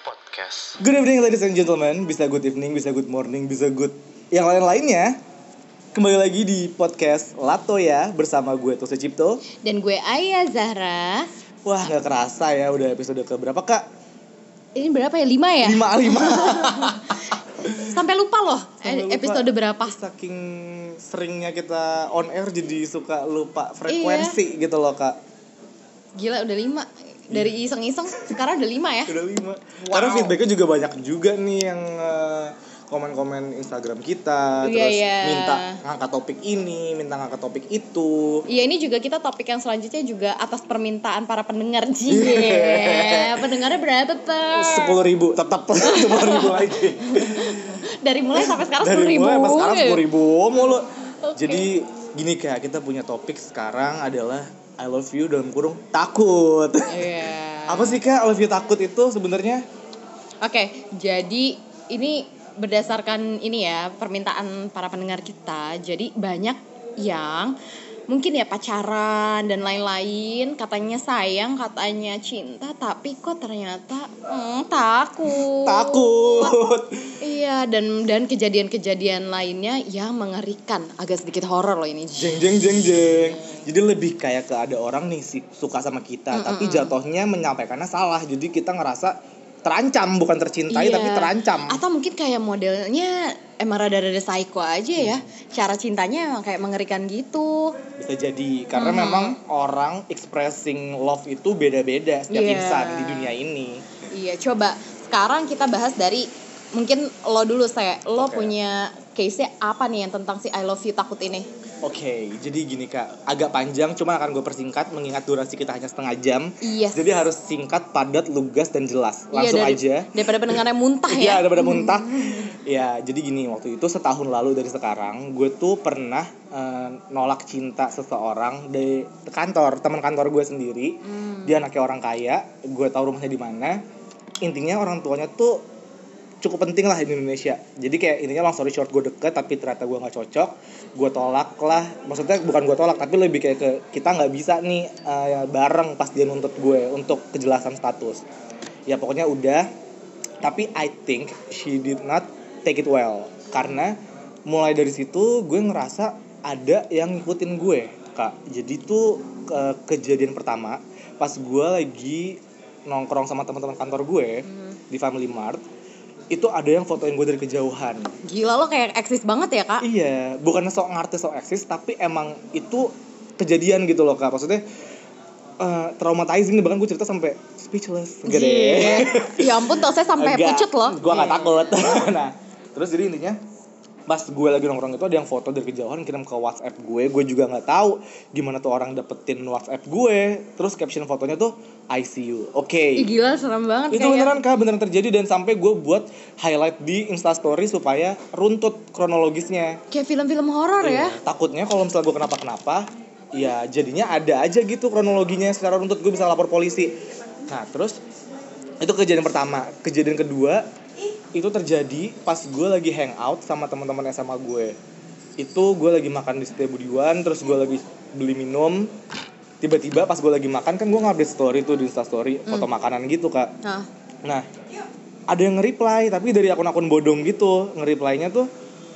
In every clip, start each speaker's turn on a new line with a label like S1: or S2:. S1: Podcast.
S2: Good evening ladies and gentlemen, bisa good evening, bisa good morning, bisa good yang lain-lainnya. Kembali lagi di podcast Lato ya bersama gue Tose Cipto.
S3: Dan gue Aya Zahra.
S2: Wah nggak kerasa ya udah episode ke berapa kak?
S3: Ini berapa ya? Lima ya?
S2: Lima lima.
S3: Sampai lupa loh
S2: Sampai lupa.
S3: Eh, episode berapa.
S2: Saking seringnya kita on air jadi suka lupa
S3: Iya.
S2: frekuensi gitu loh kak.
S3: Gila udah lima. Dari
S2: Iya.
S3: iseng-iseng sekarang udah lima ya.
S2: Udah lima. Karena feedbacknya juga banyak juga nih yang eh, komen-komen Instagram kita,
S3: Iya,
S2: terus
S3: iya.
S2: minta ngangkat topik ini, minta ngangkat topik itu.
S3: Iya ini juga kita topik yang selanjutnya juga atas permintaan para pendengar
S2: Iya.
S3: Cie. Pendengarnya berapa tuh?
S2: sepuluh ribu tetap sepuluh ribu lagi
S3: Dari mulai sampai sekarang
S2: dari
S3: sepuluh ribu.
S2: mulai pas sekarang sepuluh ribu mulu
S3: Oke.
S2: jadi gini kayak kita punya topik sekarang adalah I love you dalam kurung takut
S3: Iya.
S2: apa sih kak I love you takut itu sebenarnya
S3: Oke, jadi ini berdasarkan ini ya permintaan para pendengar kita. Jadi banyak yang mungkin ya pacaran dan lain-lain, katanya sayang, katanya cinta, tapi kok ternyata mm, takut.
S2: takut
S3: Iya, dan dan kejadian-kejadian lainnya yang mengerikan. Agak sedikit horor loh ini.
S2: jeng jeng jeng jeng jadi lebih kayak ke ada orang nih si- suka sama kita tapi jatuhnya menyampaikannya salah jadi kita ngerasa terancam bukan tercintai
S3: Iya.
S2: tapi terancam
S3: Atau mungkin kayak modelnya emang rada-rada psycho aja
S2: Iya.
S3: ya. Cara cintanya emang kayak mengerikan gitu.
S2: bisa jadi karena
S3: Mm-hmm.
S2: memang orang expressing love itu beda-beda setiap
S3: Iya.
S2: insan di dunia ini
S3: Iya, coba sekarang kita bahas dari mungkin lo dulu saya. Lo
S2: Oke.
S3: punya case-nya apa nih yang tentang si I love you takut ini?
S2: oke jadi gini kak agak panjang cuman akan gue persingkat mengingat durasi kita hanya setengah jam
S3: Yes.
S2: jadi harus singkat padat lugas dan jelas langsung
S3: iya, dari-
S2: aja
S3: Daripada pendengarnya muntah ya.
S2: Iya, daripada muntah. Ya, jadi gini, waktu itu setahun lalu dari sekarang, gue tuh pernah eh, nolak cinta seseorang dari kantor, teman kantor gue sendiri.
S3: Hmm.
S2: Dia anaknya orang kaya, gue tahu rumahnya di mana. Intinya orang tuanya tuh cukup penting lah di Indonesia. Jadi kayak intinya long story short gue deket tapi ternyata gue nggak cocok, gue tolak lah. Maksudnya bukan gue tolak tapi lebih kayak ke kita nggak bisa nih eh, bareng pas dia nuntut gue untuk kejelasan status. Ya pokoknya udah tapi I think she did not take it well karena mulai dari situ gue ngerasa ada yang ngikutin gue kak jadi tuh ke- kejadian pertama pas gue lagi nongkrong sama teman-teman kantor gue di Family Mart itu ada yang fotoin gue dari kejauhan
S3: Gila lo kayak eksis banget ya, Kak?
S2: Iya, bukan sok ngartis sok eksis, tapi emang itu kejadian gitu loh kak. Maksudnya eh, traumatizing nih bahkan gue cerita sampai speechless. Gede.
S3: Iya. ya ampun, tau saya sampai pucet Iya. loh.
S2: Gue gak takut. nah, terus jadi intinya pas gue lagi nongkrong itu ada yang foto dari kejauhan kirim ke WhatsApp gue, gue juga nggak tahu gimana tuh orang dapetin WhatsApp gue. Terus caption fotonya tuh I see you. Oke.
S3: Ih, gila serem banget
S2: Itu
S3: kayak.
S2: beneran kak, beneran terjadi dan sampai gue buat highlight di Instastory supaya runtut kronologisnya.
S3: Kayak film-film horor
S2: Iya,
S3: ya.
S2: Takutnya kalau misalnya gue kenapa-kenapa, ya jadinya ada aja gitu kronologinya secara runtut gue bisa lapor polisi. Nah terus itu kejadian pertama, kejadian kedua itu terjadi pas gue lagi hangout sama teman-teman SMA gue. Itu gue lagi makan di Setia Budiwan, terus gue lagi beli minum. Tiba-tiba pas gue lagi makan kan gue ngupdate story tuh di Instastory foto makanan gitu kak.
S3: Nah,
S2: Nah, ada yang nge-reply tapi dari akun-akun bodong gitu. Nge-reply-nya tuh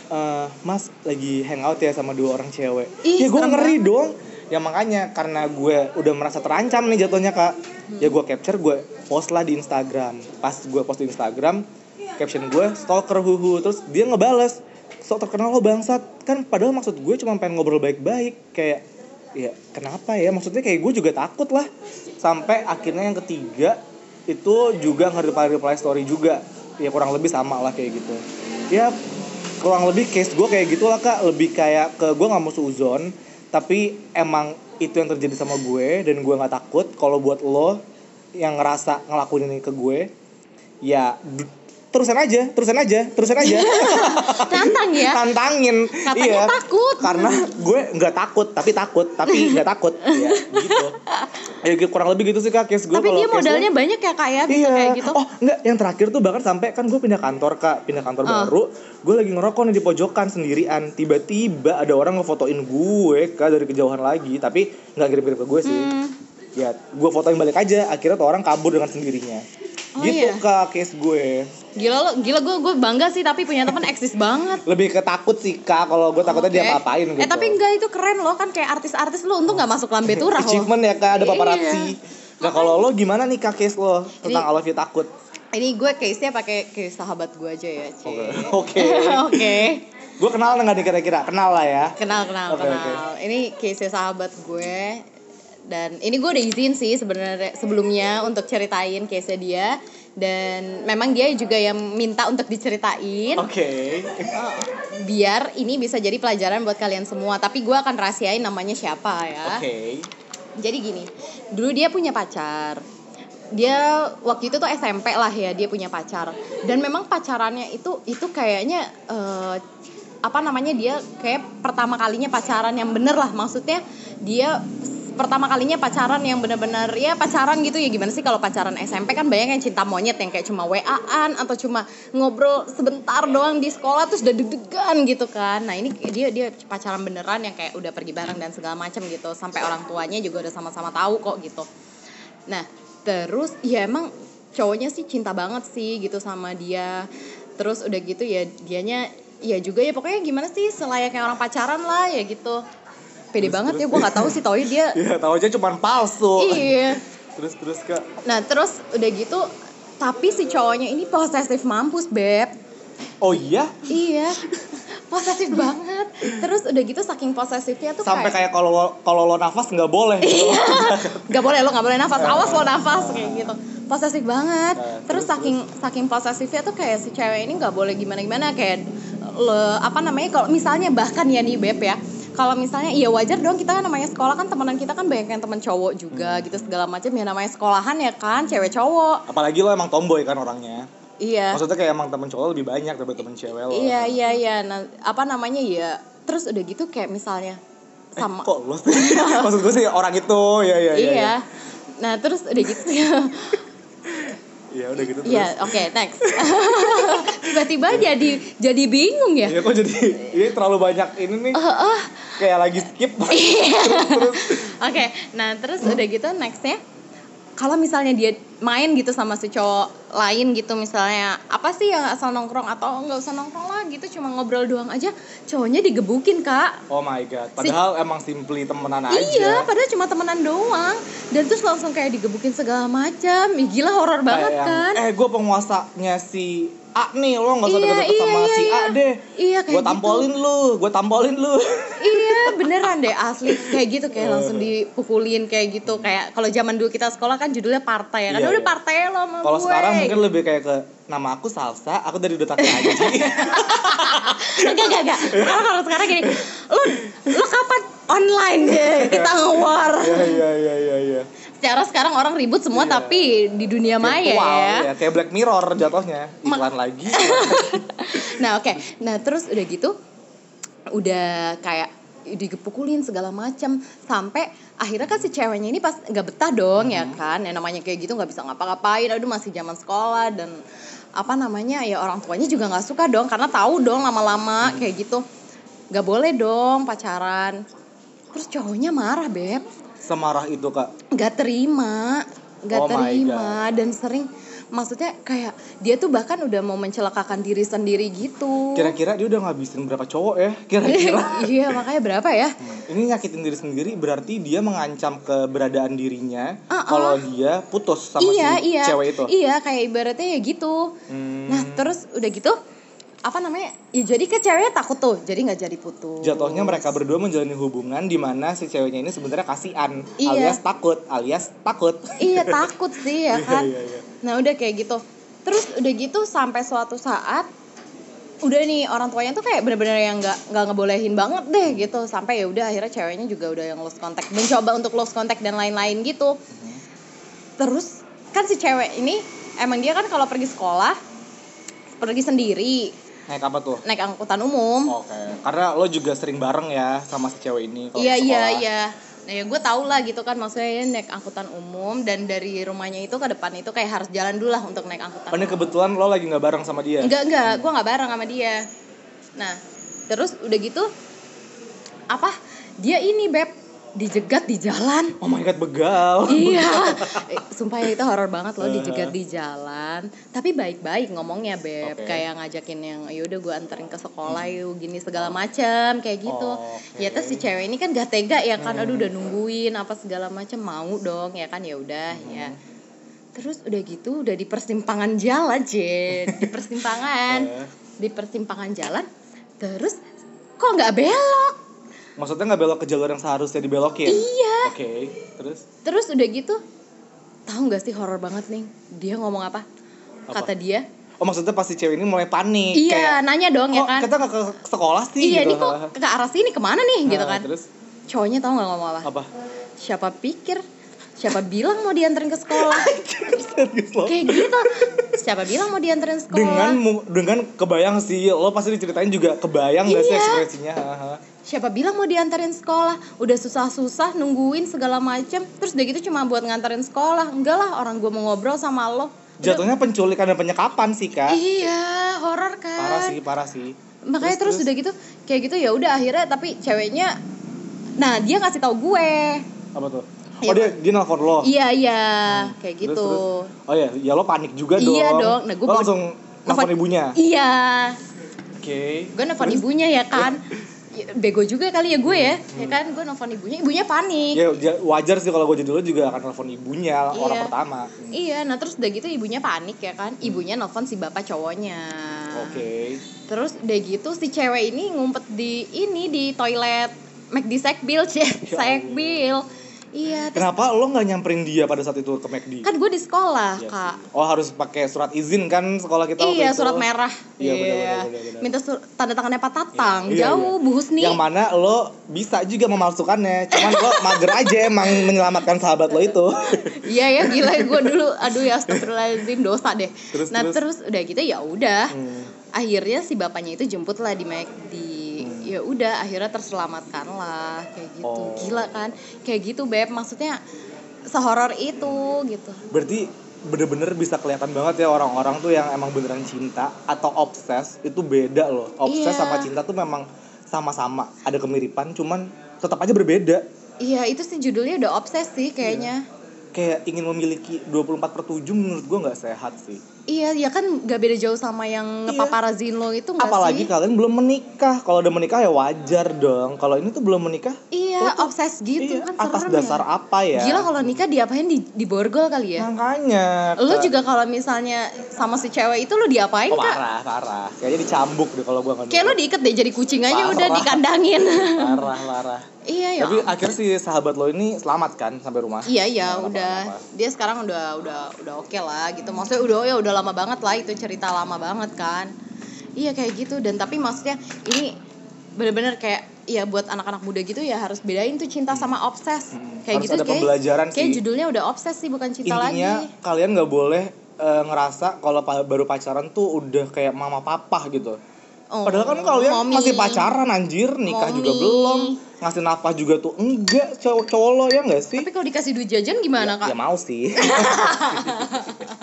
S2: eh, Mas lagi hangout ya sama dua orang cewek. ya
S3: Ih,
S2: gue
S3: serem
S2: ngeri dong. Ya makanya karena gue udah merasa terancam nih jatuhnya kak. Ya gue capture gue post lah di Instagram. Pas gue post di Instagram, caption gue stalker huhu. Terus dia ngebales sok terkenal lo bangsat kan padahal maksud gue cuma pengen ngobrol baik-baik kayak ya kenapa ya maksudnya kayak gue juga takut lah sampai akhirnya yang ketiga itu juga nge-reply reply story juga ya kurang lebih sama lah kayak gitu ya kurang lebih case gue kayak gitulah kak lebih kayak ke gue nggak mau suzon tapi emang itu yang terjadi sama gue dan gue nggak takut kalau buat lo yang ngerasa ngelakuin ini ke gue ya d- terusan aja terusan aja terusan aja
S3: tantang ya.
S2: tantangin Iya.
S3: Katanya takut.
S2: karena gue nggak takut tapi takut tapi nggak takut ya gitu ya gitu, kurang lebih gitu sih kak case gue
S3: Tapi
S2: kalau
S3: dia
S2: case lo-
S3: modalnya banyak ya, Kak ya, bisa kayak gitu.
S2: Oh enggak, yang terakhir tuh bahkan sampai kan gue pindah kantor kak, pindah kantor
S3: Ah.
S2: baru. Gue lagi ngerokok nih di pojokan sendirian. Tiba-tiba ada orang ngefotoin gue kak dari kejauhan lagi, tapi
S3: Hmm.
S2: nggak kirim-kirim ke gue sih. Ya, gue fotoin balik aja. Akhirnya tuh orang kabur dengan sendirinya.
S3: Oh,
S2: gitu
S3: iya.
S2: kak case gue
S3: Gila lo, gila gue gue bangga sih tapi punya teman eksis banget.
S2: lebih ke takut sih kak kalau gue takutnya dia
S3: Oke.
S2: ngapain gitu
S3: Eh tapi enggak itu keren loh kan kayak artis-artis lo untung nggak masuk lambe turah lo.
S2: achievement ya kak ada paparazzi
S3: Iya.
S2: nah kalau lo gimana nih kak case lo tentang
S3: Ini-
S2: I love you takut
S3: Ini gue case-nya pakai case sahabat gue aja ya, Ci.
S2: oke
S3: Oke.
S2: oke gue kenal nggak nih kira-kira kenal lah ya
S3: Kenal, kenal,
S2: Oke,
S3: kenal. Ini case sahabat gue dan ini gue udah izin sih sebenarnya sebelumnya untuk ceritain case dia dan memang dia juga yang minta untuk diceritain
S2: oke
S3: Oh, biar ini bisa jadi pelajaran buat kalian semua tapi gue akan rahasiain namanya siapa ya
S2: oke
S3: jadi gini dulu dia punya pacar dia waktu itu tuh SMP lah ya dia punya pacar dan memang pacarannya itu itu kayaknya eh, apa namanya dia kayak pertama kalinya pacaran yang bener lah maksudnya dia pertama kalinya pacaran yang bener-bener ya pacaran gitu ya gimana sih kalau pacaran SMP kan banyak yang cinta monyet yang kayak cuma WA-an atau cuma ngobrol sebentar doang di sekolah terus udah deg-degan gitu kan nah ini dia dia pacaran beneran yang kayak udah pergi bareng dan segala macam gitu sampai orang tuanya juga udah sama-sama tahu kok gitu Nah, terus ya emang cowoknya sih cinta banget sih gitu sama dia. Terus udah gitu ya dianya ya juga ya pokoknya gimana sih selayaknya orang pacaran lah ya gitu. Pede banget ya gue nggak tahu sih taunya dia.
S2: ya tahu aja cuman palsu
S3: iya.
S2: terus terus kak
S3: Nah, terus udah gitu tapi si cowoknya ini posesif mampus, Beb.
S2: oh iya
S3: Iya. Posesif banget. Terus udah gitu saking posesifnya tuh
S2: sampai
S3: kayak Iya.
S2: kayak kalau lo- kalau lo nafas nggak boleh gitu.
S3: gak boleh lo gak boleh nafas awas lo nafas kayak gitu posesif banget
S2: Eh, Iya. terus,
S3: terus saking saking posesifnya tuh kayak si cewek ini nggak boleh gimana gimana kayak le, apa namanya kalau misalnya bahkan ya nih beb ya kalau misalnya iya wajar dong kita kan namanya sekolah kan temenan kita kan banyak yang teman cowok juga
S2: Hmm.
S3: gitu segala macam ya namanya sekolahan ya kan cewek cowok
S2: apalagi lo emang tomboy kan orangnya
S3: iya
S2: maksudnya kayak emang temen cowok lebih banyak daripada temen cewek lo
S3: iya iya iya Nah, apa namanya ya terus udah gitu kayak misalnya sama
S2: Eh, kok lo sih maksud gue sih orang itu ya ya ya,
S3: iya
S2: ya.
S3: nah terus udah gitu
S2: Iya, udah gitu terus
S3: Iya, oke, next. Tiba-tiba jadi jadi bingung ya.
S2: Iya kok jadi ini terlalu banyak ini nih
S3: Oh.
S2: kayak lagi skip.
S3: Iya. Oke, nah terus udah gitu nextnya kalau misalnya dia main gitu sama si cowok lain gitu misalnya apa sih yang nggak usah nongkrong atau nggak usah nongkrong lah gitu cuma ngobrol doang aja cowoknya digebukin kak
S2: Oh my god. Padahal emang simply temenan
S3: iya
S2: aja.
S3: padahal cuma temenan doang dan terus langsung kayak digebukin segala macam Ih, gila horor banget
S2: Kayak
S3: kan
S2: yang, Eh, gue penguasanya si A nih, lo gak usah
S3: Iya,
S2: deket-deket
S3: iya,
S2: sama
S3: iya,
S2: si
S3: iya.
S2: A deh.
S3: iya kayak
S2: Gue
S3: gitu.
S2: tampolin lu, gue tampolin lu.
S3: iya beneran deh asli kayak gitu kayak
S2: Oh.
S3: langsung dipukulin kayak gitu kayak kalau zaman dulu kita sekolah kan judulnya partai ya kan
S2: Iya,
S3: udah
S2: iya.
S3: partai lo sama
S2: Kalau
S3: gue
S2: sekarang mungkin lebih kayak ke nama aku Salsa, aku dari Duta Kaji.
S3: enggak enggak enggak
S2: Iya.
S3: sekarang kalau sekarang gini lo lo kapan online deh kita ngewar
S2: Iya, iya, iya, iya, iya.
S3: secara sekarang orang ribut semua
S2: Iya.
S3: tapi di dunia maya
S2: Virtual,
S3: ya
S2: ya. Kayak Black Mirror jatuhnya.
S3: Ma-
S2: Iklan lagi.
S3: nah oke nah terus udah gitu udah kayak digepukulin segala macam sampai akhirnya kan si ceweknya ini pas nggak betah dong ya
S2: Mm-hmm.
S3: kan yang namanya kayak gitu nggak bisa ngapa-ngapain aduh masih zaman sekolah dan apa namanya ya orang tuanya juga nggak suka dong karena tahu dong
S2: Mm-hmm.
S3: lama-lama kayak gitu nggak boleh dong pacaran terus cowoknya marah beb
S2: Semarah itu, Kak.
S3: nggak terima nggak
S2: Oh my
S3: terima dan sering maksudnya kayak dia tuh bahkan udah mau mencelakakan diri sendiri gitu
S2: Kira-kira dia udah ngabisin berapa cowok ya? Kira-kira.
S3: iya makanya berapa ya
S2: Ini nyakitin diri sendiri berarti dia mengancam keberadaan dirinya
S3: Uh-uh.
S2: kalau dia putus sama
S3: iya
S2: si
S3: iya
S2: cewek itu.
S3: iya kayak ibaratnya ya gitu
S2: Hmm,
S3: nah terus udah gitu apa namanya ya jadi ke ceweknya takut tuh jadi nggak jadi putus
S2: jatuhnya mereka berdua menjalani hubungan di mana si ceweknya ini sebenarnya kasihan
S3: Iya.
S2: alias takut, alias takut.
S3: iya takut sih ya kan
S2: Iya, iya, iya.
S3: Nah udah kayak gitu Terus udah gitu sampai suatu saat Udah nih orang tuanya tuh kayak bener-bener yang gak, nggak ngebolehin banget deh gitu Sampai ya udah akhirnya ceweknya juga udah yang lost contact Mencoba untuk lost contact dan lain-lain gitu Terus kan si cewek ini Emang dia kan kalau pergi sekolah Pergi sendiri
S2: Naik apa tuh?
S3: Naik angkutan umum
S2: Oke, karena lo juga sering bareng ya sama si cewek ini kalau
S3: Iya
S2: di
S3: iya
S2: sekolah.
S3: iya Nah ya gue tau lah gitu kan Maksudnya dia naik angkutan umum Dan dari rumahnya itu ke depan itu kayak harus jalan dulu lah Untuk naik angkutan
S2: Padahal Oh, kebetulan lo lagi nggak bareng sama dia.
S3: Enggak, enggak, gua nggak bareng sama dia. Nah, terus udah gitu apa? Dia ini beb dijegat di jalan
S2: Oh my god begal.
S3: iya Eh, sumpah ya itu horor banget loh dijegat di jalan tapi baik-baik ngomongnya beb
S2: Oke. Hmm.
S3: kayak ngajakin yang yaudah gue anterin ke sekolah yuk gini segala macam kayak gitu ya terus si cewek ini kan gak tega ya kan aduh udah
S2: Hmm.
S3: nungguin apa segala macam mau dong ya kan ya udah
S2: Hmm.
S3: ya terus udah gitu udah di persimpangan jalan je di persimpangan
S2: Eh,
S3: di persimpangan jalan terus kok nggak belok
S2: maksudnya nggak belok ke jalur yang seharusnya dibelokin.
S3: iya
S2: Oke, terus
S3: Terus udah gitu, tahu nggak sih horor banget nih? Dia ngomong apa?
S2: Apa?
S3: Kata dia,
S2: Oh maksudnya pasti cewek ini mulai panik.
S3: iya
S2: kayak,
S3: nanya dong ya
S2: "Kok
S3: kan?
S2: Kita nggak ke sekolah sih.
S3: iya
S2: gitu.
S3: ini kok ke arah sini kemana nih gitu
S2: Ah,
S3: kan?
S2: Terus
S3: Cowoknya tahu nggak ngomong apa?
S2: apa?
S3: Siapa pikir? Siapa bilang mau dianterin ke sekolah?
S2: Serius lo?
S3: Kayak gitu. Siapa bilang mau dianterin sekolah?
S2: Oh. Dengan mu- dengan kebayang sih lo pasti diceritain juga kebayang nggak sih
S3: Iya.
S2: ekspresinya? Haha.
S3: Siapa bilang mau diantarin sekolah? Udah susah-susah nungguin segala macem. Terus udah gitu cuma buat nganterin sekolah. Enggak lah orang gue mau ngobrol sama lo. Udah-
S2: Jatuhnya penculikan dan penyekapan sih kak.
S3: Iya, horor kan.
S2: Parah sih, parah sih.
S3: makanya terus, udah gitu kayak gitu ya udah akhirnya tapi ceweknya nah dia ngasih tahu gue
S2: apa tuh?
S3: Iya,
S2: Oh dia dia nelfon lo.
S3: iya iya kayak
S2: Terus,
S3: gitu
S2: terus. Oh ya, ya lo panik juga dong.
S3: Iya dong. Nah, gua
S2: lo
S3: mau-
S2: langsung nelfon
S3: nelfon-
S2: ibunya.
S3: iya
S2: Oke.
S3: gue nelfon ibunya ya kan
S2: Iya.
S3: Ya, bego juga kali ya gue ya ya
S2: Hmm.
S3: kan gue nelfon ibunya ibunya panik
S2: Ya ja- wajar sih kalau gue jadi lo juga akan nelfon ibunya orang
S3: Iya.
S2: pertama. Hmm.
S3: iya nah terus udah gitu ibunya panik ya kan ibunya nelfon si bapak cowoknya
S2: Oke.
S3: Terus udah gitu si cewek ini ngumpet di ini di toilet McD Sekbil, Cek.
S2: Ya
S3: Sekbil. Iya, terus
S2: Kenapa lo nggak nyamperin dia pada saat itu ke McD?
S3: kan gue di sekolah,
S2: Iya
S3: Kak.
S2: sih. Oh harus pakai surat izin kan sekolah kita waktu
S3: Iya,
S2: itu.
S3: surat merah.
S2: Iya, benar, benar, benar, benar.
S3: Minta sur- tanda tangannya Pak Tatang.
S2: Iya, iya,
S3: Jauh Bu Husni.
S2: Yang mana lo bisa juga memalsukannya, cuman lo mager aja emang menyelamatkan sahabat lo itu.
S3: Iya ya, gila gue dulu. Aduh ya, astagfirullahaladzim dosa deh.
S2: Terus,
S3: nah, terus.
S2: terus.
S3: udah gitu ya udah.
S2: Hmm.
S3: Akhirnya si bapaknya itu jemput lah di McD. Ya udah, akhirnya terselamatkan lah kayak gitu.
S2: Oh.
S3: Gila kan? Kayak gitu, Beb. Maksudnya sehoror
S2: Hmm.
S3: itu gitu.
S2: Berarti bener-bener bisa kelihatan banget ya orang-orang tuh yang emang beneran cinta atau obses itu beda loh. Obses
S3: Iya.
S2: sama cinta tuh memang sama-sama ada kemiripan, cuman tetap aja berbeda.
S3: Iya itu sih judulnya udah obses sih kayaknya.
S2: Kayak ingin memiliki 24 per 7 menurut gua nggak sehat sih.
S3: Iya, ya kan gak beda jauh sama yang
S2: Iya.
S3: ngepaparazin lo itu gak
S2: Apalagi
S3: sih?
S2: kalian belum menikah. Kalau udah menikah ya wajar dong. Kalau ini tuh belum menikah,
S3: Iya, obses
S2: Oh,
S3: gitu
S2: iya,
S3: kan
S2: atas
S3: serem
S2: dasar
S3: ya.
S2: apa ya?
S3: Gila kalau nikah diapain di, di borgol kali ya?
S2: Makanya.
S3: Lo
S2: Kak.
S3: juga kalau misalnya sama si cewek itu lo diapain
S2: Oh,
S3: kak?
S2: parah, parah. Kayaknya dicambuk deh kalau gua nggak
S3: Kayak lo diikat deh jadi kucing aja
S2: Parah.
S3: udah dikandangin.
S2: Parah, parah.
S3: iya ya.
S2: Tapi akhirnya si sahabat lo ini selamat kan sampai rumah?
S3: Iya iya
S2: Nggak
S3: udah.
S2: kenapa-napa.
S3: Dia sekarang udah udah udah oke lah gitu. Maksudnya udah ya udah lama banget lah itu cerita lama banget kan. Iya kayak gitu dan tapi maksudnya ini bener-bener kayak ya buat anak-anak muda gitu ya harus bedain tuh cinta sama obses.
S2: Hmm.
S3: Kayak
S2: Harus
S3: gitu
S2: ada pembelajaran
S3: kayak
S2: sih.
S3: judulnya udah obses sih bukan cinta
S2: Intinya
S3: lagi.
S2: kalian nggak boleh eh, ngerasa kalau pa- baru pacaran tuh udah kayak mama papa gitu.
S3: Oh,
S2: Padahal kan kalian
S3: mommy.
S2: masih pacaran anjir, nikah
S3: Mommy.
S2: juga belum, ngasih nafkah juga tuh enggak cowok cowok lo ya nggak sih?
S3: Tapi kalau dikasih duit jajan gimana, Kak?
S2: Ya mau sih.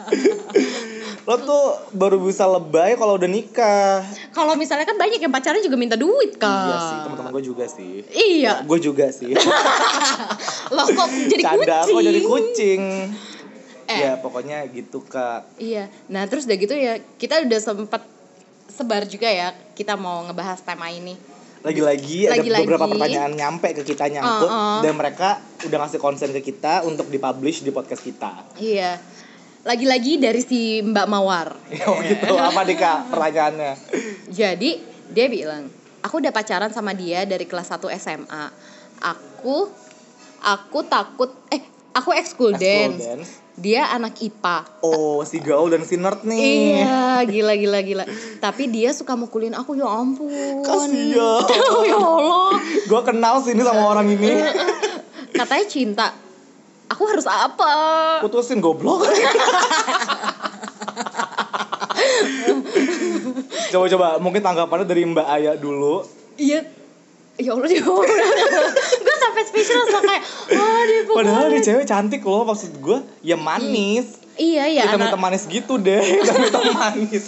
S2: lo tuh baru bisa lebay kalau udah nikah.
S3: Kalau misalnya kan banyak yang pacaran juga minta duit, Kak.
S2: Iya sih, teman-teman gue juga sih.
S3: Ah. Iya.
S2: Gue juga sih.
S3: Loh kok jadi
S2: Canda
S3: kucing?
S2: kok jadi kucing.
S3: Eh.
S2: Ya pokoknya gitu kak.
S3: Iya, nah terus udah gitu ya kita udah sempet sebar juga ya kita mau ngebahas tema ini.
S2: Lagi-lagi ada
S3: Lagi-lagi.
S2: beberapa pertanyaan nyampe ke kita nyangkut
S3: Uh-uh.
S2: dan mereka udah ngasih konsen ke kita untuk dipublish di podcast kita.
S3: Iya, lagi-lagi dari si Mbak Mawar.
S2: Oh gitu. Apa nih kak pertanyaannya?
S3: Jadi dia bilang, aku udah pacaran sama dia dari kelas 1 SMA. Aku, aku takut, eh aku
S2: Ekskul
S3: ekskul dance.
S2: dance.
S3: Dia anak IPA.
S2: Oh si gaul dan si nerd nih.
S3: Iya, gila gila gila. Tapi dia suka mukulin aku ya ampun.
S2: Kasian.
S3: ya Allah.
S2: Gue kenal sih ini sama orang ini.
S3: Eh. Katanya cinta. Aku harus apa?
S2: Putusin goblok. Coba-coba mungkin tanggapannya dari Mbak Aya dulu.
S3: Iya. Ya Allah, ya Allah. gue sampai spesial sama kayak, wah dia pokoknya.
S2: Padahal dia cewek cantik loh maksud gue. Ya manis.
S3: Iya ya,
S2: hitam
S3: anak.
S2: hitam manis gitu deh hitam hitam manis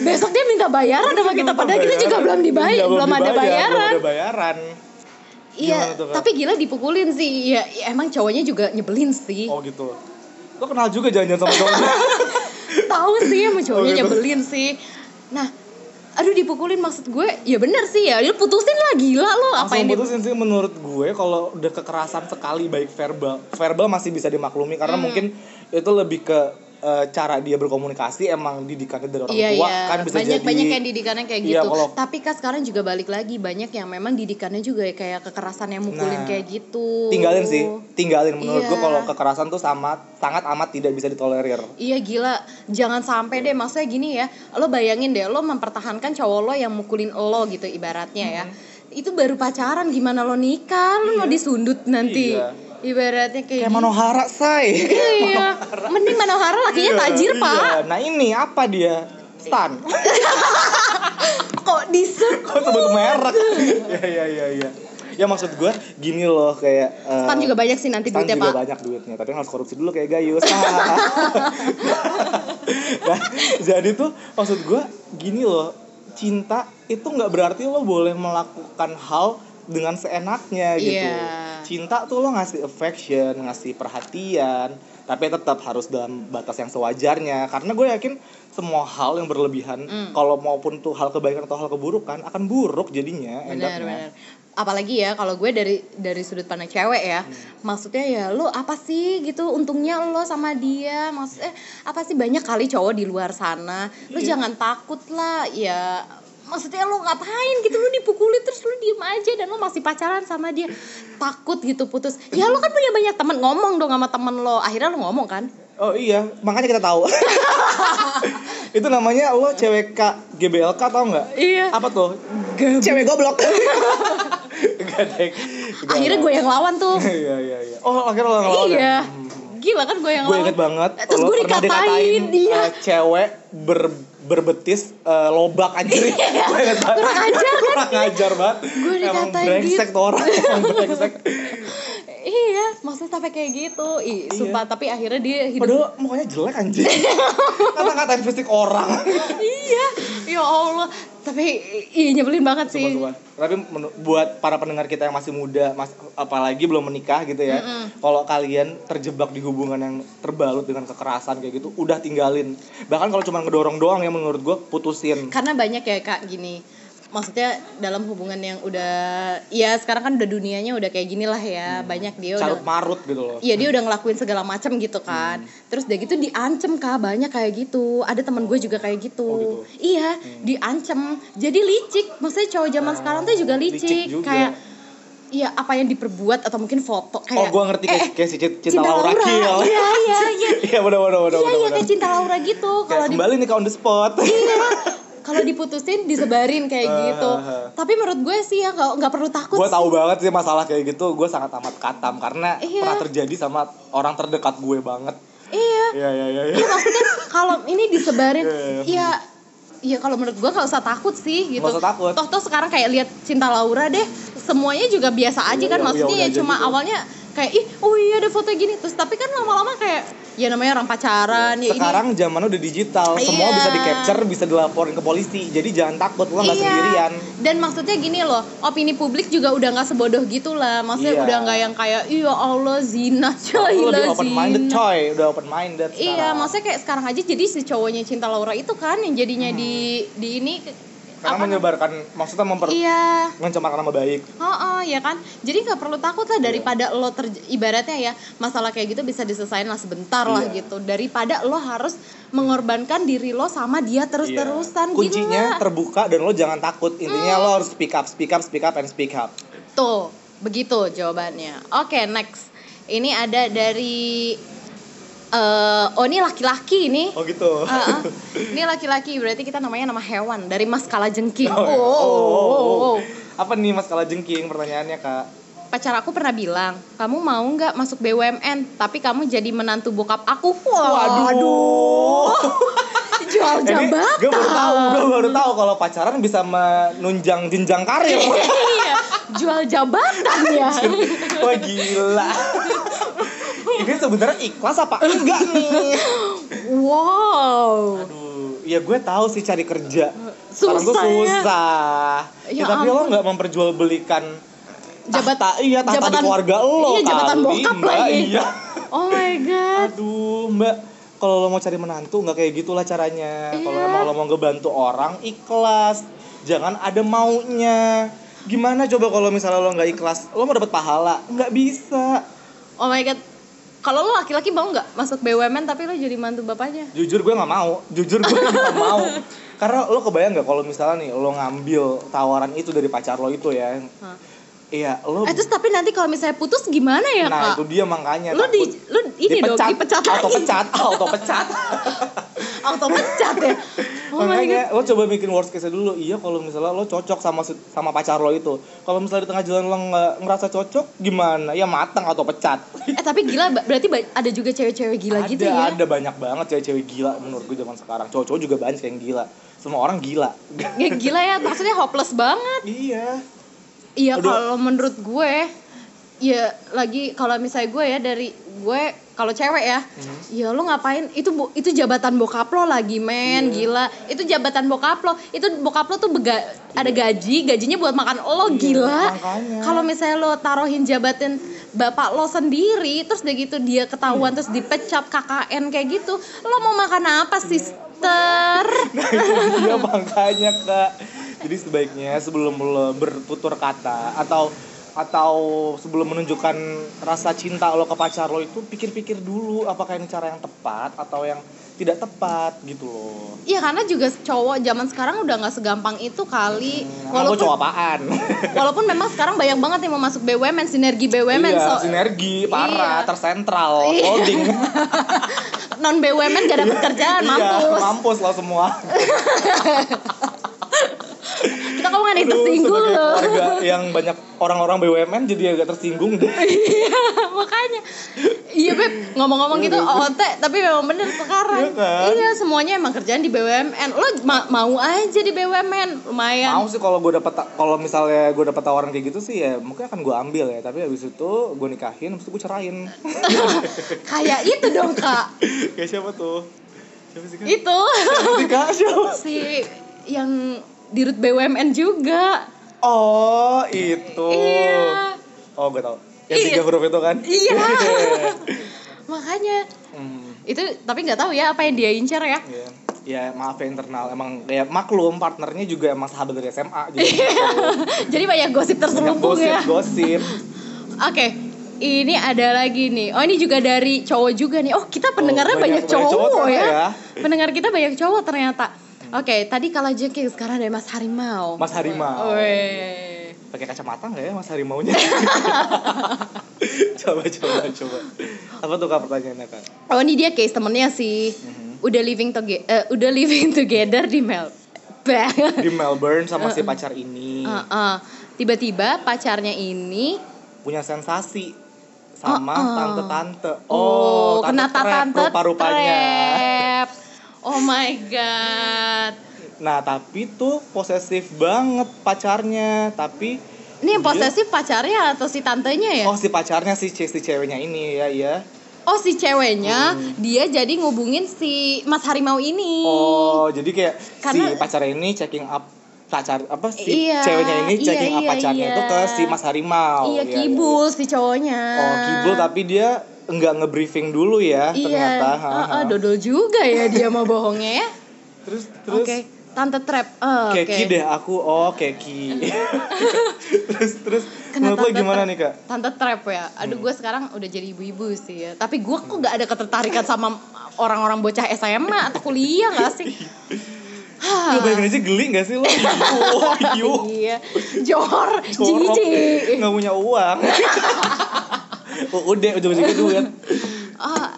S3: Besok Iya, dia minta bayaran sama kita, padahal kita juga Iya, belum dibayar, belum, ada
S2: Iya, dibayar,
S3: bayaran.
S2: belum ada bayaran
S3: Iya,
S2: Gimana tuh, Kak?
S3: tapi gila dipukulin sih. Ya, ya emang cowoknya juga nyebelin sih.
S2: Oh gitu. Lo kenal juga jangan-jangan sama cowoknya.
S3: tahu sih sama cowoknya
S2: Oh, gitu.
S3: nyebelin sih nah aduh dipukulin maksud gue ya bener sih ya lu putusin lah gila lo apa
S2: Langsung
S3: yang di-
S2: putusin sih menurut gue kalau udah kekerasan sekali baik verbal. Verbal masih bisa dimaklumi karena
S3: Hmm.
S2: mungkin itu lebih ke eh, cara dia berkomunikasi emang didikannya dari orang
S3: Iya
S2: tua
S3: iya
S2: kan bisa
S3: banyak
S2: jadi
S3: banyak yang didikannya kayak
S2: Iya,
S3: gitu
S2: kalau-
S3: tapi kan sekarang juga balik lagi banyak yang memang didikannya juga ya kayak kekerasan yang
S2: Nah,
S3: mukulin kayak gitu
S2: tinggalin sih tinggalin menurut gue
S3: Iya.
S2: kalau kekerasan tuh sama sangat amat tidak bisa ditolerir
S3: Iya gila, jangan sampai deh maksudnya gini ya. Lo bayangin deh lo mempertahankan cowok lo yang mukulin lo gitu ibaratnya ya.
S2: Hmm.
S3: Itu baru pacaran gimana lo nikah, lo mau disundut nanti.
S2: Iya.
S3: Ibaratnya kayak,
S2: kayak
S3: gitu.
S2: manohara say
S3: Iya, mending Manohara lakinya
S2: Iya,
S3: tajir,
S2: iya.
S3: Pak.
S2: nah ini apa dia stan
S3: Kok disebut
S2: kok sebut merek ya ya ya ya ya maksud gue gini loh kayak eh,
S3: Stan juga banyak sih nanti
S2: Stan
S3: duitnya,
S2: juga
S3: Pak.
S2: banyak duitnya, tapi harus korupsi dulu kayak Gayus. Nah, jadi tuh maksud gue gini loh, cinta itu nggak berarti lo boleh melakukan hal dengan seenaknya gitu.
S3: Iya.
S2: Cinta tuh lo ngasih affection, ngasih perhatian, tapi tetap harus dalam batas yang sewajarnya. Karena gue yakin semua hal yang berlebihan,
S3: Mm.
S2: kalau maupun tuh hal kebaikan atau hal keburukan akan buruk jadinya. end
S3: Benar,
S2: up-nya.
S3: benar. Apalagi ya kalau gue dari dari sudut pandang cewek ya.
S2: Hmm.
S3: Maksudnya ya lo apa sih gitu untungnya lo sama dia? Maksudnya apa sih banyak kali cowok di luar sana. Lo
S2: Iya.
S3: jangan takut lah ya. Maksudnya lo ngapain gitu lo dipukuli terus lo diem aja dan lo masih pacaran sama dia. Takut gitu putus. Ya lo kan punya banyak teman ngomong dong sama temen lo. Akhirnya lo ngomong kan?
S2: Oh iya, makanya kita tahu. itu namanya lo cewek K GBLK tau nggak?
S3: Iya.
S2: Apa tuh? Cewek goblok. Gak deh. Gak,
S3: akhirnya
S2: gak.
S3: gue yang lawan tuh
S2: Iya iya iya. Oh akhirnya lo ngelawan. ya?
S3: iya gila kan gue yang
S2: Gue
S3: lawan
S2: inget banget.
S3: terus
S2: lo
S3: gue
S2: pernah
S3: dikatain Iya. dia
S2: eh, cewek ber berbetis eh, lobak anjir. gue inget banget.
S3: Iya. kurang ajar kan
S2: Kurang ajar banget.
S3: Gue
S2: Emang
S3: dikatain gitu.
S2: brengsek tuh orang. Emang brengsek.
S3: iya maksudnya sampai kayak gitu Ih,
S2: Iya.
S3: sumpah tapi akhirnya dia hidup
S2: Padahal mukanya jelek anjir. Kata-katain fisik orang.
S3: iya ya allah tapi iya nyebelin banget sih
S2: Sumpah, sumpah. Tapi menu- buat para pendengar kita yang masih muda, mas, apalagi belum menikah gitu ya. Kalau kalian terjebak di hubungan yang terbalut dengan kekerasan kayak gitu, udah tinggalin. Bahkan kalau cuma ngedorong doang ya menurut gue putusin.
S3: karena banyak ya kak gini maksudnya dalam hubungan yang udah ya sekarang kan udah dunianya udah kayak gini lah
S2: Hmm.
S3: ya banyak dia udah
S2: Carut marut gitu loh.
S3: Iya dia udah ngelakuin segala macam gitu kan.
S2: Hmm.
S3: Terus dia gitu diancem kak banyak kayak gitu. Ada teman gue juga kayak gitu.
S2: Oh, gitu.
S3: Iya diancem. Jadi licik. Maksudnya cowok zaman sekarang tuh juga licik.
S2: Ah, licik juga.
S3: Kayak iya apa yang diperbuat atau mungkin foto
S2: Oh
S3: kayak. eh,
S2: gue ngerti kayak, kayak si Cinta, Cinta Laura Kiel.
S3: Iya iya iya.
S2: Iya bener bener bener
S3: Iya iya
S2: bener,
S3: kayak
S2: bener.
S3: cinta Laura gitu. Kalau
S2: Kayak
S3: di
S2: kembali nih ke on the spot.
S3: iya. Kalau diputusin disebarin kayak
S2: Ah,
S3: gitu. Tapi menurut gue sih ya nggak nggak perlu takut.
S2: gue
S3: sih.
S2: tahu banget sih masalah kayak gitu. Gue sangat amat katam karena
S3: Iya.
S2: pernah terjadi sama orang terdekat gue banget.
S3: Iya.
S2: Iya iya iya. iya.
S3: Iya maksudnya kalau ini disebarin
S2: Iya,
S3: ya ya kalau menurut gua nggak usah takut sih gitu.
S2: Nggak usah takut.
S3: Toh toh sekarang kayak lihat cinta Laura deh, semuanya juga biasa aja
S2: Iya,
S3: kan
S2: iya,
S3: maksudnya
S2: iya,
S3: ya
S2: udah
S3: cuma
S2: gitu.
S3: awalnya kayak ih oh iya ada foto gini terus tapi kan lama-lama kayak ya namanya orang pacaran ya
S2: sekarang zamannya udah digital semua
S3: Iya.
S2: bisa di capture bisa dilaporin ke polisi jadi jangan takut lo
S3: ini
S2: nggak sendirian
S3: iya. Dan maksudnya gini loh, opini publik juga udah nggak sebodoh gitu lah. Maksudnya
S2: Iya.
S3: udah nggak yang kayak iya Allah zina coy.
S2: Lo lebih
S3: lah,
S2: open minded
S3: zina."
S2: coy udah open minded
S3: Iya, maksudnya kayak sekarang aja jadi si cowoknya cinta Laura itu kan yang jadinya
S2: Hmm.
S3: di di ini ke-
S2: karena
S3: apa-
S2: menyebarkan maksudnya memper
S3: Iya.
S2: mencemarkan nama baik
S3: Oh, oh, ya kan. Jadi nggak perlu takut lah daripada lo ter ibaratnya ya masalah kayak gitu bisa diselesain lah sebentar lah
S2: Iya.
S3: gitu. Daripada lo harus mengorbankan diri lo sama
S2: Iya.
S3: dia terus-terusan gitu.
S2: kuncinya
S3: gila. Hmm.
S2: terbuka dan lo jangan takut intinya lo harus speak up speak up speak up and speak up
S3: Tuh, begitu jawabannya. Oke, next. Ini ada dari eh oh ini laki-laki ini.
S2: oh gitu
S3: Ah, ah. Ini laki-laki berarti kita namanya nama hewan dari Mas Kalajengking.
S2: Oh,
S3: Oh,
S2: ya.
S3: oh, oh, oh, oh.
S2: apa nih mas kalau jengking pertanyaannya kak
S3: Pacar aku pernah bilang, kamu mau nggak masuk BUMN? Tapi kamu jadi menantu bokap aku. Ah,
S2: waduh,
S3: jual
S2: Ini
S3: jabatan.
S2: gue baru tahu, gue baru tahu kalau pacaran bisa menunjang jenjang karir.
S3: Iya, jual jabatan ya.
S2: Wah gila. Ini sebenarnya ikhlas apa enggak nih?
S3: Wow.
S2: Aduh, ya gue tahu sih cari kerja. Sekarang
S3: Susah
S2: gue
S3: ya.
S2: susah. Ya,
S3: Ya
S2: tapi lo
S3: ampun.
S2: nggak memperjualbelikan
S3: jabat
S2: Tahta, iya tahta
S3: jabatan-
S2: di keluarga lo
S3: iya, jabatan
S2: kali,
S3: bokap
S2: Mbak.
S3: lagi.
S2: Iya.
S3: oh my god
S2: Aduh, Mbak, kalau lo mau cari menantu nggak kayak gitulah caranya. Kalau
S3: Iya.
S2: emang lo mau ngebantu orang, ikhlas. Jangan ada maunya. Gimana coba kalau misalnya lo nggak ikhlas, lo mau dapat pahala? Nggak bisa.
S3: oh my god kalau lo laki-laki mau nggak masuk BUMN tapi lo jadi mantu bapaknya
S2: Jujur gue nggak mau. Jujur gue nggak mau. Karena lo kebayang nggak kalau misalnya nih lo ngambil tawaran itu dari pacar lo itu ya?
S3: Hah.
S2: Iya, lo.
S3: Eh, terus tapi nanti kalau misalnya putus gimana ya
S2: nah itu
S3: kak
S2: dia makanya.
S3: lo di
S2: takut
S3: lo ini
S2: dipecat,
S3: dong dipecat lagi
S2: auto pecat, auto pecat.
S3: auto pecat ya oh my god
S2: makanya lo coba bikin worst case dulu iya kalau misalnya lo cocok sama se- sama pacar lo itu kalau misalnya di tengah jalan lo nggak ngerasa cocok gimana ya matang atau pecat
S3: eh tapi gila ba- berarti ba- ada juga cewek-cewek gila
S2: ada
S3: gitu ya
S2: ada banyak banget cewek-cewek gila menurut gue zaman sekarang cowok-cowok juga banyak yang gila semua orang gila
S3: Ya, gila ya maksudnya hopeless banget
S2: iya
S3: Iya
S2: Aduh.
S3: kalau menurut gue ya lagi kalau misalnya gue ya dari gue kalau cewek ya
S2: Hmm.
S3: ya lu ngapain itu bo- itu jabatan bokap lo lagi
S2: Iya.
S3: men gila itu jabatan bokap lo itu bokap lo tuh bega, ada gaji gajinya buat makan
S2: Iya,
S3: lo gila
S2: makanya.
S3: kalau misalnya lo taruhin jabatan bapak lo sendiri terus udah gitu dia
S2: Iya.
S3: ketahuan terus dipecat KKN kayak gitu lo mau makan apa sister
S2: iya makanya kak jadi sebaiknya sebelum lo bertutur kata atau atau sebelum menunjukkan rasa cinta lo ke pacar lo itu pikir-pikir dulu apakah ini cara yang tepat atau yang tidak tepat gitu loh
S3: Iya karena juga cowok zaman sekarang udah nggak segampang itu kali.
S2: Walaupun
S3: Walaupun
S2: Hmm, Nah, cowok apaan?
S3: walaupun memang sekarang banyak banget yang mau masuk BUMN, sinergi BUMN,
S2: iya,
S3: so,
S2: sinergi parah,
S3: Iya.
S2: tersentral,
S3: Iya.
S2: holding.
S3: non BUMN gak dapat kerjaan,
S2: Iya,
S3: Kan mampus.
S2: mampus lo semua.
S3: Kita ngomongan Kan yang
S2: Aduh,
S3: tersinggung
S2: sebagai
S3: loh.
S2: keluarga yang banyak orang-orang BUMN jadi agak tersinggung deh.
S3: Iya, makanya. Iya beb, ngomong-ngomong gitu OOT, tapi memang bener
S2: Iya
S3: sekarang.
S2: kan?
S3: Iya, semuanya emang kerjaan di BUMN. Lo ma- mau aja di BUMN, lumayan.
S2: Mau sih kalau gue dapat kalau misalnya gue dapat tawaran kayak gitu sih ya mungkin akan gue ambil ya, tapi habis itu gue nikahin, habis itu gue cerain.
S3: Kayak itu dong kak,
S2: kayak siapa tuh? Siapa sih Kak?
S3: itu
S2: Siapa sih, Kak? Siapa?
S3: si yang di rut BUMN juga.
S2: Oh, itu.
S3: Iya.
S2: Oh, gue tau. Yang
S3: Iya.
S2: tiga huruf itu kan?
S3: Iya. Makanya
S2: Hmm.
S3: itu tapi nggak tahu ya apa yang dia incer ya.
S2: Iya. Ya maaf ya internal emang kayak maklum partnernya juga emang sahabat dari SMA
S3: Iya.
S2: jadi
S3: Jadi banyak gosip
S2: banyak
S3: terselubung
S2: gosip
S3: ya.
S2: gosip.
S3: Oke. Ini ada lagi nih. Oh, ini juga dari cowok juga nih. Oh, kita pendengarnya
S2: banyak-
S3: banyak,
S2: banyak
S3: cowok,
S2: cowok
S3: ya.
S2: ternyata
S3: Pendengar kita banyak cowok ternyata. Oke, tadi kalah jengking sekarang ada Mas Harimau.
S2: Mas Harimau.
S3: Weh.
S2: Pakai kacamata nggak ya Mas Harimaunya? coba coba coba. Apa tuh kak pertanyaannya kak?
S3: Oh, ini dia case temennya sih.
S2: Mm-hmm.
S3: Udah living toge- eh, udah living together di Mel. Bah.
S2: Di Melbourne sama si pacar ini
S3: Heeh. Tiba-tiba pacarnya ini
S2: punya sensasi sama
S3: Oh, oh.
S2: tante-tante.
S3: Oh, kena
S2: trap
S3: tante
S2: rupa-rupanya.
S3: trap. Oh my god.
S2: Nah tapi tuh posesif banget pacarnya tapi
S3: Ini yang
S2: Iya.
S3: posesif pacarnya atau si tantenya ya?
S2: oh si pacarnya si, ce- si ceweknya ini ya iya.
S3: Oh, si ceweknya
S2: Hmm.
S3: dia jadi ngubungin si Mas Harimau ini.
S2: Oh, jadi kayak si
S3: Karena-
S2: pacarnya ini checking up pacar apa si
S3: Iya,
S2: ceweknya ini
S3: iya,
S2: checking up
S3: iya,
S2: pacarnya
S3: iya.
S2: itu ke si Mas Harimau.
S3: iya,
S2: Iya,
S3: kibul si cowoknya.
S2: iya. Oh, kibul tapi dia nggak ngebriefing dulu ya
S3: Iya.
S2: ternyata. Ha,
S3: Heeh,
S2: ha.
S3: dodol juga ya dia mau bohongnya ya.
S2: Terus terus
S3: Oke, tante trap. Eh, Oke.
S2: keki deh aku. Oh, keki. terus terus
S3: Kena
S2: menurut lo
S3: tante
S2: gimana
S3: trap.
S2: nih, Kak?
S3: Tante trap ya. Aduh
S2: Hmm.
S3: gue sekarang udah jadi ibu-ibu sih ya. Tapi gue kok gak ada ketertarikan sama orang-orang bocah SMA atau kuliah gak sih? Ah.
S2: Lo bayangin aja geli gak sih lo? Oh, iu.
S3: iya. Jor,
S2: Jorok.
S3: jijik.
S2: Nggak punya uang. Oh, Udah, ujung-ujungnya duit.
S3: Ah,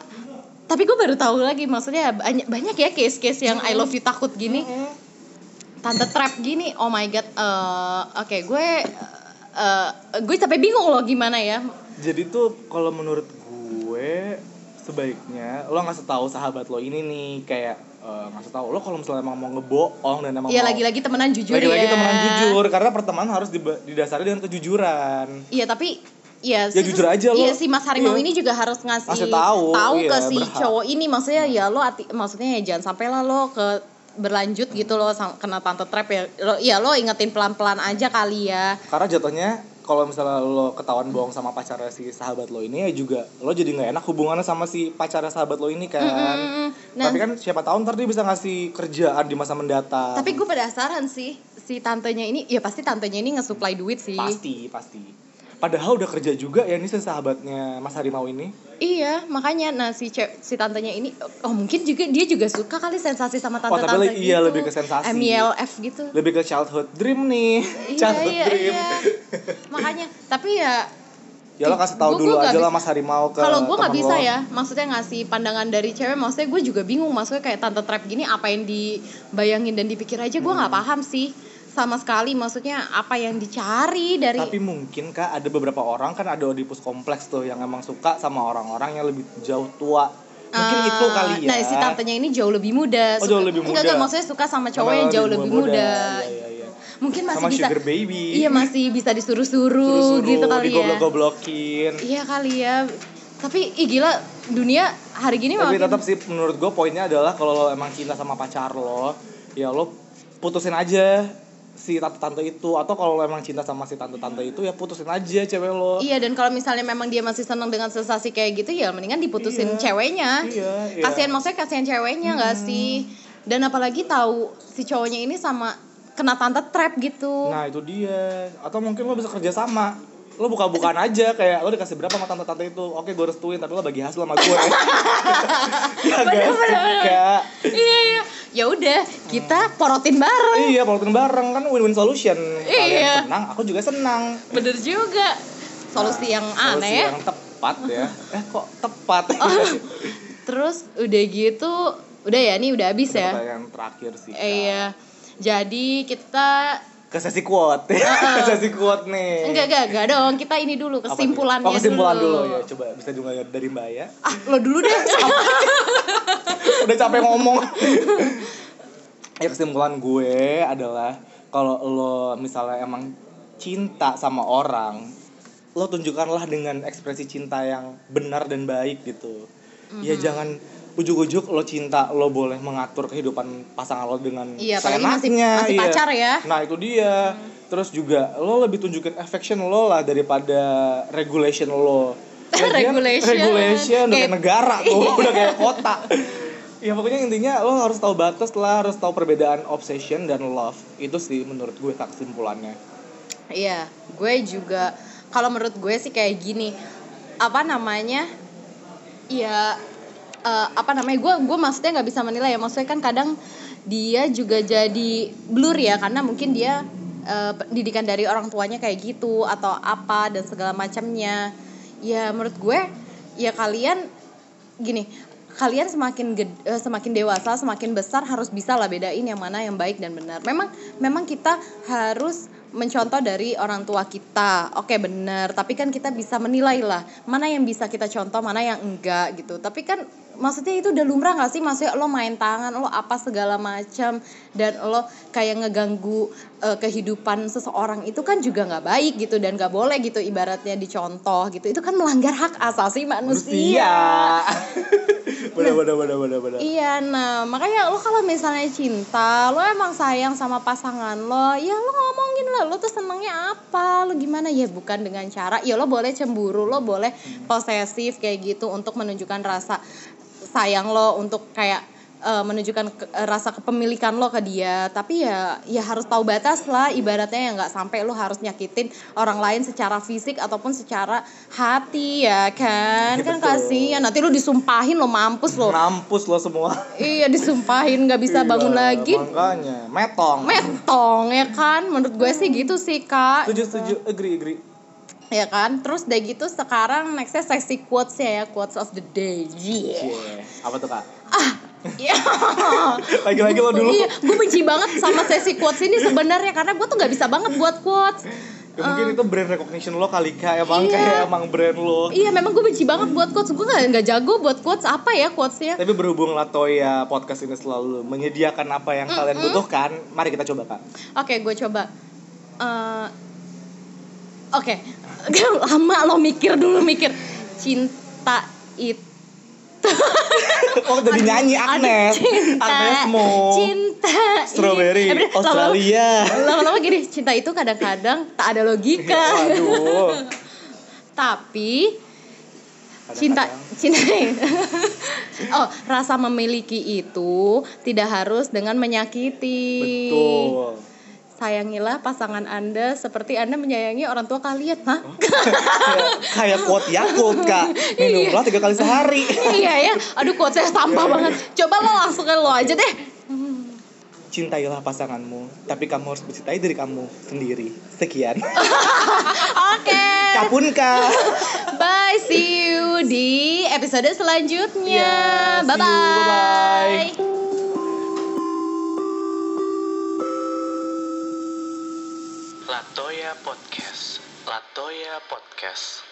S3: tapi gue baru tahu lagi maksudnya banyak, banyak ya case-case yang I love you takut gini. Tante trap gini. Oh my god. eh, Oke, gue eh, gue sampai bingung loh gimana ya.
S2: Jadi tuh kalau menurut gue sebaiknya lo ngasih tahu sahabat lo ini nih kayak eh, ngasih tahu lo kalau misalnya emang mau ngebohong dan emang
S3: Iya
S2: mau
S3: lagi-lagi temenan jujur
S2: lagi-lagi
S3: ya.
S2: temenan jujur karena pertemanan harus diba- didasari dengan kejujuran.
S3: Iya tapi ya,
S2: Ya, jujur aja lo.
S3: Iya si Mas Harimau
S2: Iya.
S3: ini juga harus ngasih
S2: Ngasih tahu, iya,
S3: ke si
S2: berhak. Hmm.
S3: cowok ini maksudnya ya lo hati- maksudnya ya jangan sampai lah lo ke berlanjut iya, gitu lo sam- kena tante trap ya lo ya lo ingetin pelan pelan aja kali ya
S2: Karena jatuhnya kalau misalnya lo ketahuan bohong sama pacarnya si sahabat lo ini ya juga lo jadi nggak enak hubungannya sama si pacarnya sahabat lo ini kan.
S3: Mm-mm. Nah,
S2: Tapi kan siapa tahu ntar dia bisa ngasih kerjaan di masa mendatang.
S3: tapi gue penasaran sih si tantenya ini ya pasti tantenya ini nge-supply duit sih
S2: pasti pasti. Padahal udah kerja juga ya ini si sahabatnya Mas Harimau ini.
S3: iya makanya nah si ce- si tantenya ini oh mungkin juga dia juga suka kali sensasi sama
S2: Oh,
S3: tante-tante
S2: tapi le-
S3: gitu
S2: iya lebih ke sensasi.
S3: MILF gitu
S2: Lebih ke childhood dream nih.
S3: iya
S2: childhood
S3: iya
S2: dream.
S3: iya makanya tapi ya
S2: Ya lo kasih tahu
S3: Gua-
S2: dulu
S3: gua nggak
S2: aja lah
S3: bisa.
S2: Mas Harimau ke
S3: kalau gue nggak
S2: temen
S3: bisa
S2: lo.
S3: ya maksudnya ngasih pandangan dari cewek maksudnya gue juga bingung maksudnya kayak tante trap gini apa yang dibayangin dan dipikir aja gue
S2: Hmm.
S3: nggak paham sih sama sekali maksudnya apa yang dicari dari
S2: Tapi mungkin kak ada beberapa orang kan ada Oedipus kompleks tuh yang emang suka sama orang-orang yang lebih jauh tua. Mungkin
S3: Ah,
S2: itu kali ya.
S3: nah si tantenya ini jauh lebih muda
S2: Oh,
S3: suka-
S2: jauh lebih
S3: enggak
S2: muda.
S3: enggak maksudnya suka
S2: Sama
S3: sama cowok yang jauh lebih muda,
S2: Iya, iya, iya.
S3: mungkin masih
S2: Sama
S3: bisa
S2: sugar baby.
S3: iya masih bisa disuruh-suruh
S2: Suruh-suruh,
S3: gitu kali ya
S2: digoblok-goblokin.
S3: iya kali ya tapi ih gila dunia hari gini
S2: Tapi
S3: makin-
S2: tetap sih menurut gue poinnya adalah kalau lo emang cinta sama pacar lo, ya lo putusin aja si tante-tante itu atau kalau lo emang cinta sama si tante-tante itu ya putusin aja cewek lo.
S3: Iya dan kalau misalnya memang dia masih senang dengan sensasi kayak gitu ya mendingan diputusin
S2: Iya.
S3: ceweknya.
S2: Iya, Hmm. iya.
S3: kan? Kasihan maksudnya kasihan ceweknya nggak sih? Dan apalagi tahu si cowoknya ini sama kena tante trap gitu.
S2: Nah itu dia. Atau mungkin lo bisa kerja sama. Lo buka-bukaan aja kayak lo dikasih berapa sama tante-tante itu. Oke gue restuin tapi lo bagi hasil sama Iya, kan? gue. Kagak suka.
S3: iya iya. Ya udah,
S2: Hmm.
S3: kita porotin bareng.
S2: Iya, polotin bareng kan win-win solution. Kalian
S3: Iya.
S2: senang, aku juga senang.
S3: Bener juga. Solusi
S2: Iya. Nah,
S3: yang
S2: solusi
S3: aneh. ya. Oh,
S2: yang tepat ya. Eh kok tepat? Iya.
S3: iya. Terus udah gitu, udah ya nih udah habis
S2: Ada
S3: ya.
S2: Pertanyaan terakhir sih. Kak.
S3: Iya. Jadi kita
S2: Ke sesi quote. Ke sesi quote nih.
S3: enggak enggak enggak dong, kita ini
S2: Eh.
S3: dulu
S2: Apa tuh?
S3: kesimpulannya
S2: oh, kesimpulan dulu. ya. Coba bisa juga dari Mbak ya.
S3: Ah, lo dulu deh.
S2: Udah capek ngomong. ya kesimpulan gue adalah kalau lo misalnya emang cinta sama orang, lo tunjukkanlah dengan ekspresi cinta yang benar dan baik gitu. Ya
S3: Mm-hmm.
S2: jangan ujuk-ujuk lo cinta lo boleh mengatur kehidupan pasangan lo dengan
S3: Iya, apalagi masih-
S2: seenaknya,
S3: masih pacar ya.
S2: Nah itu dia. Terus juga lo lebih tunjukin affection lo lah daripada regulation lo. Lagian,
S3: Regulation.
S2: regulation udah kayak
S3: Kayak- Iya.
S2: negara tuh, udah kayak kota. Ya pokoknya intinya lo harus tahu batas lah, harus tahu perbedaan obsession dan love. Itu sih menurut gue tak kesimpulannya.
S3: Iya, gue juga kalau menurut gue sih kayak gini. Apa namanya? Ya eh, apa namanya? Gue gue maksudnya nggak bisa menilai ya. Maksudnya kan kadang dia juga jadi blur ya karena mungkin dia eh, pendidikan dari orang tuanya kayak gitu atau apa dan segala macamnya. Ya menurut gue ya kalian gini kalian semakin ged- eh, semakin dewasa semakin besar harus bisa lah bedain yang mana yang baik dan benar memang memang kita harus mencontoh dari orang tua kita oke benar tapi kan kita bisa menilai lah mana yang bisa kita contoh mana yang enggak gitu tapi kan maksudnya itu udah lumrah gak sih maksudnya lo main tangan lo apa segala macam dan lo kayak ngeganggu eh, kehidupan seseorang itu kan juga nggak baik gitu dan nggak boleh gitu ibaratnya dicontoh gitu itu kan melanggar hak asasi manusia.
S2: Bener bener bener bener bener.
S3: Iya, nah makanya lo kalau misalnya cinta, lo emang sayang sama pasangan lo, ya lo ngomongin lah, lo tuh senengnya apa, lo gimana ya bukan dengan cara, ya lo boleh cemburu, lo boleh
S2: Hmm.
S3: posesif kayak gitu untuk menunjukkan rasa sayang lo, untuk kayak eh, menunjukkan ke- eh, rasa kepemilikan lo ke dia, tapi ya ya harus tahu batas lah, ibaratnya ya nggak sampai lo harus nyakitin orang lain secara fisik ataupun secara hati ya kan,
S2: Iya,
S3: kan
S2: betul.
S3: kasihan nanti lo disumpahin lo mampus lo.
S2: Nampus lo semua.
S3: Iya disumpahin nggak bisa bangun
S2: Iya,
S3: lagi.
S2: Makanya metong.
S3: Metong ya kan, menurut gue sih gitu sih kak.
S2: Setuju setuju agree agree.
S3: Ya kan, terus udah gitu sekarang nextnya sexy quotes ya, quotes of the day. Iya. Yeah.
S2: Cie, Apa tuh kak?
S3: Iya.
S2: Lagi-lagi lo dulu.
S3: Iya, gue benci banget sama sesi quotes ini sebenarnya karena gue tuh nggak bisa banget buat quotes.
S2: Ya, mungkin itu brand recognition lo kali kak emang
S3: Eh. Iya.
S2: kayak emang brand lo.
S3: Iya, memang gue benci banget buat quotes. Gue nggak nggak jago buat quotes apa ya quotesnya.
S2: Tapi berhubung Latoya podcast ini selalu menyediakan apa yang kalian butuhkan, mari kita coba kak.
S3: Oke, gue coba. Eh, Oke, lama lo mikir dulu mikir. Cinta itu
S2: oh jadi nyanyi Agnes
S3: cinta,
S2: Agnes Mo
S3: cinta
S2: Strawberry
S3: ini. Eh, bener, lama-lama-
S2: Australia
S3: lama-lama gini cinta itu kadang-kadang tak ada logika
S2: Waduh
S3: tapi cinta cinta oh rasa memiliki itu tidak harus dengan menyakiti
S2: Betul
S3: sayangilah pasangan anda seperti anda menyayangi orang tua kalian hah
S2: Kayak- Kayak kuat Yakult kak Minumlah tiga kali sehari
S3: iya ya aduh quotesnya
S2: Iya,
S3: sampah banget coba lo langsung ke lo aja deh
S2: Cintailah pasanganmu Tapi kamu harus mencintai diri kamu sendiri Sekian
S3: oke
S2: Kapun kak
S3: bye see you di episode selanjutnya
S2: Yeah, see you.
S3: bye bye
S2: Bye-bye.
S1: Latoya Podcast. Latoya Podcast.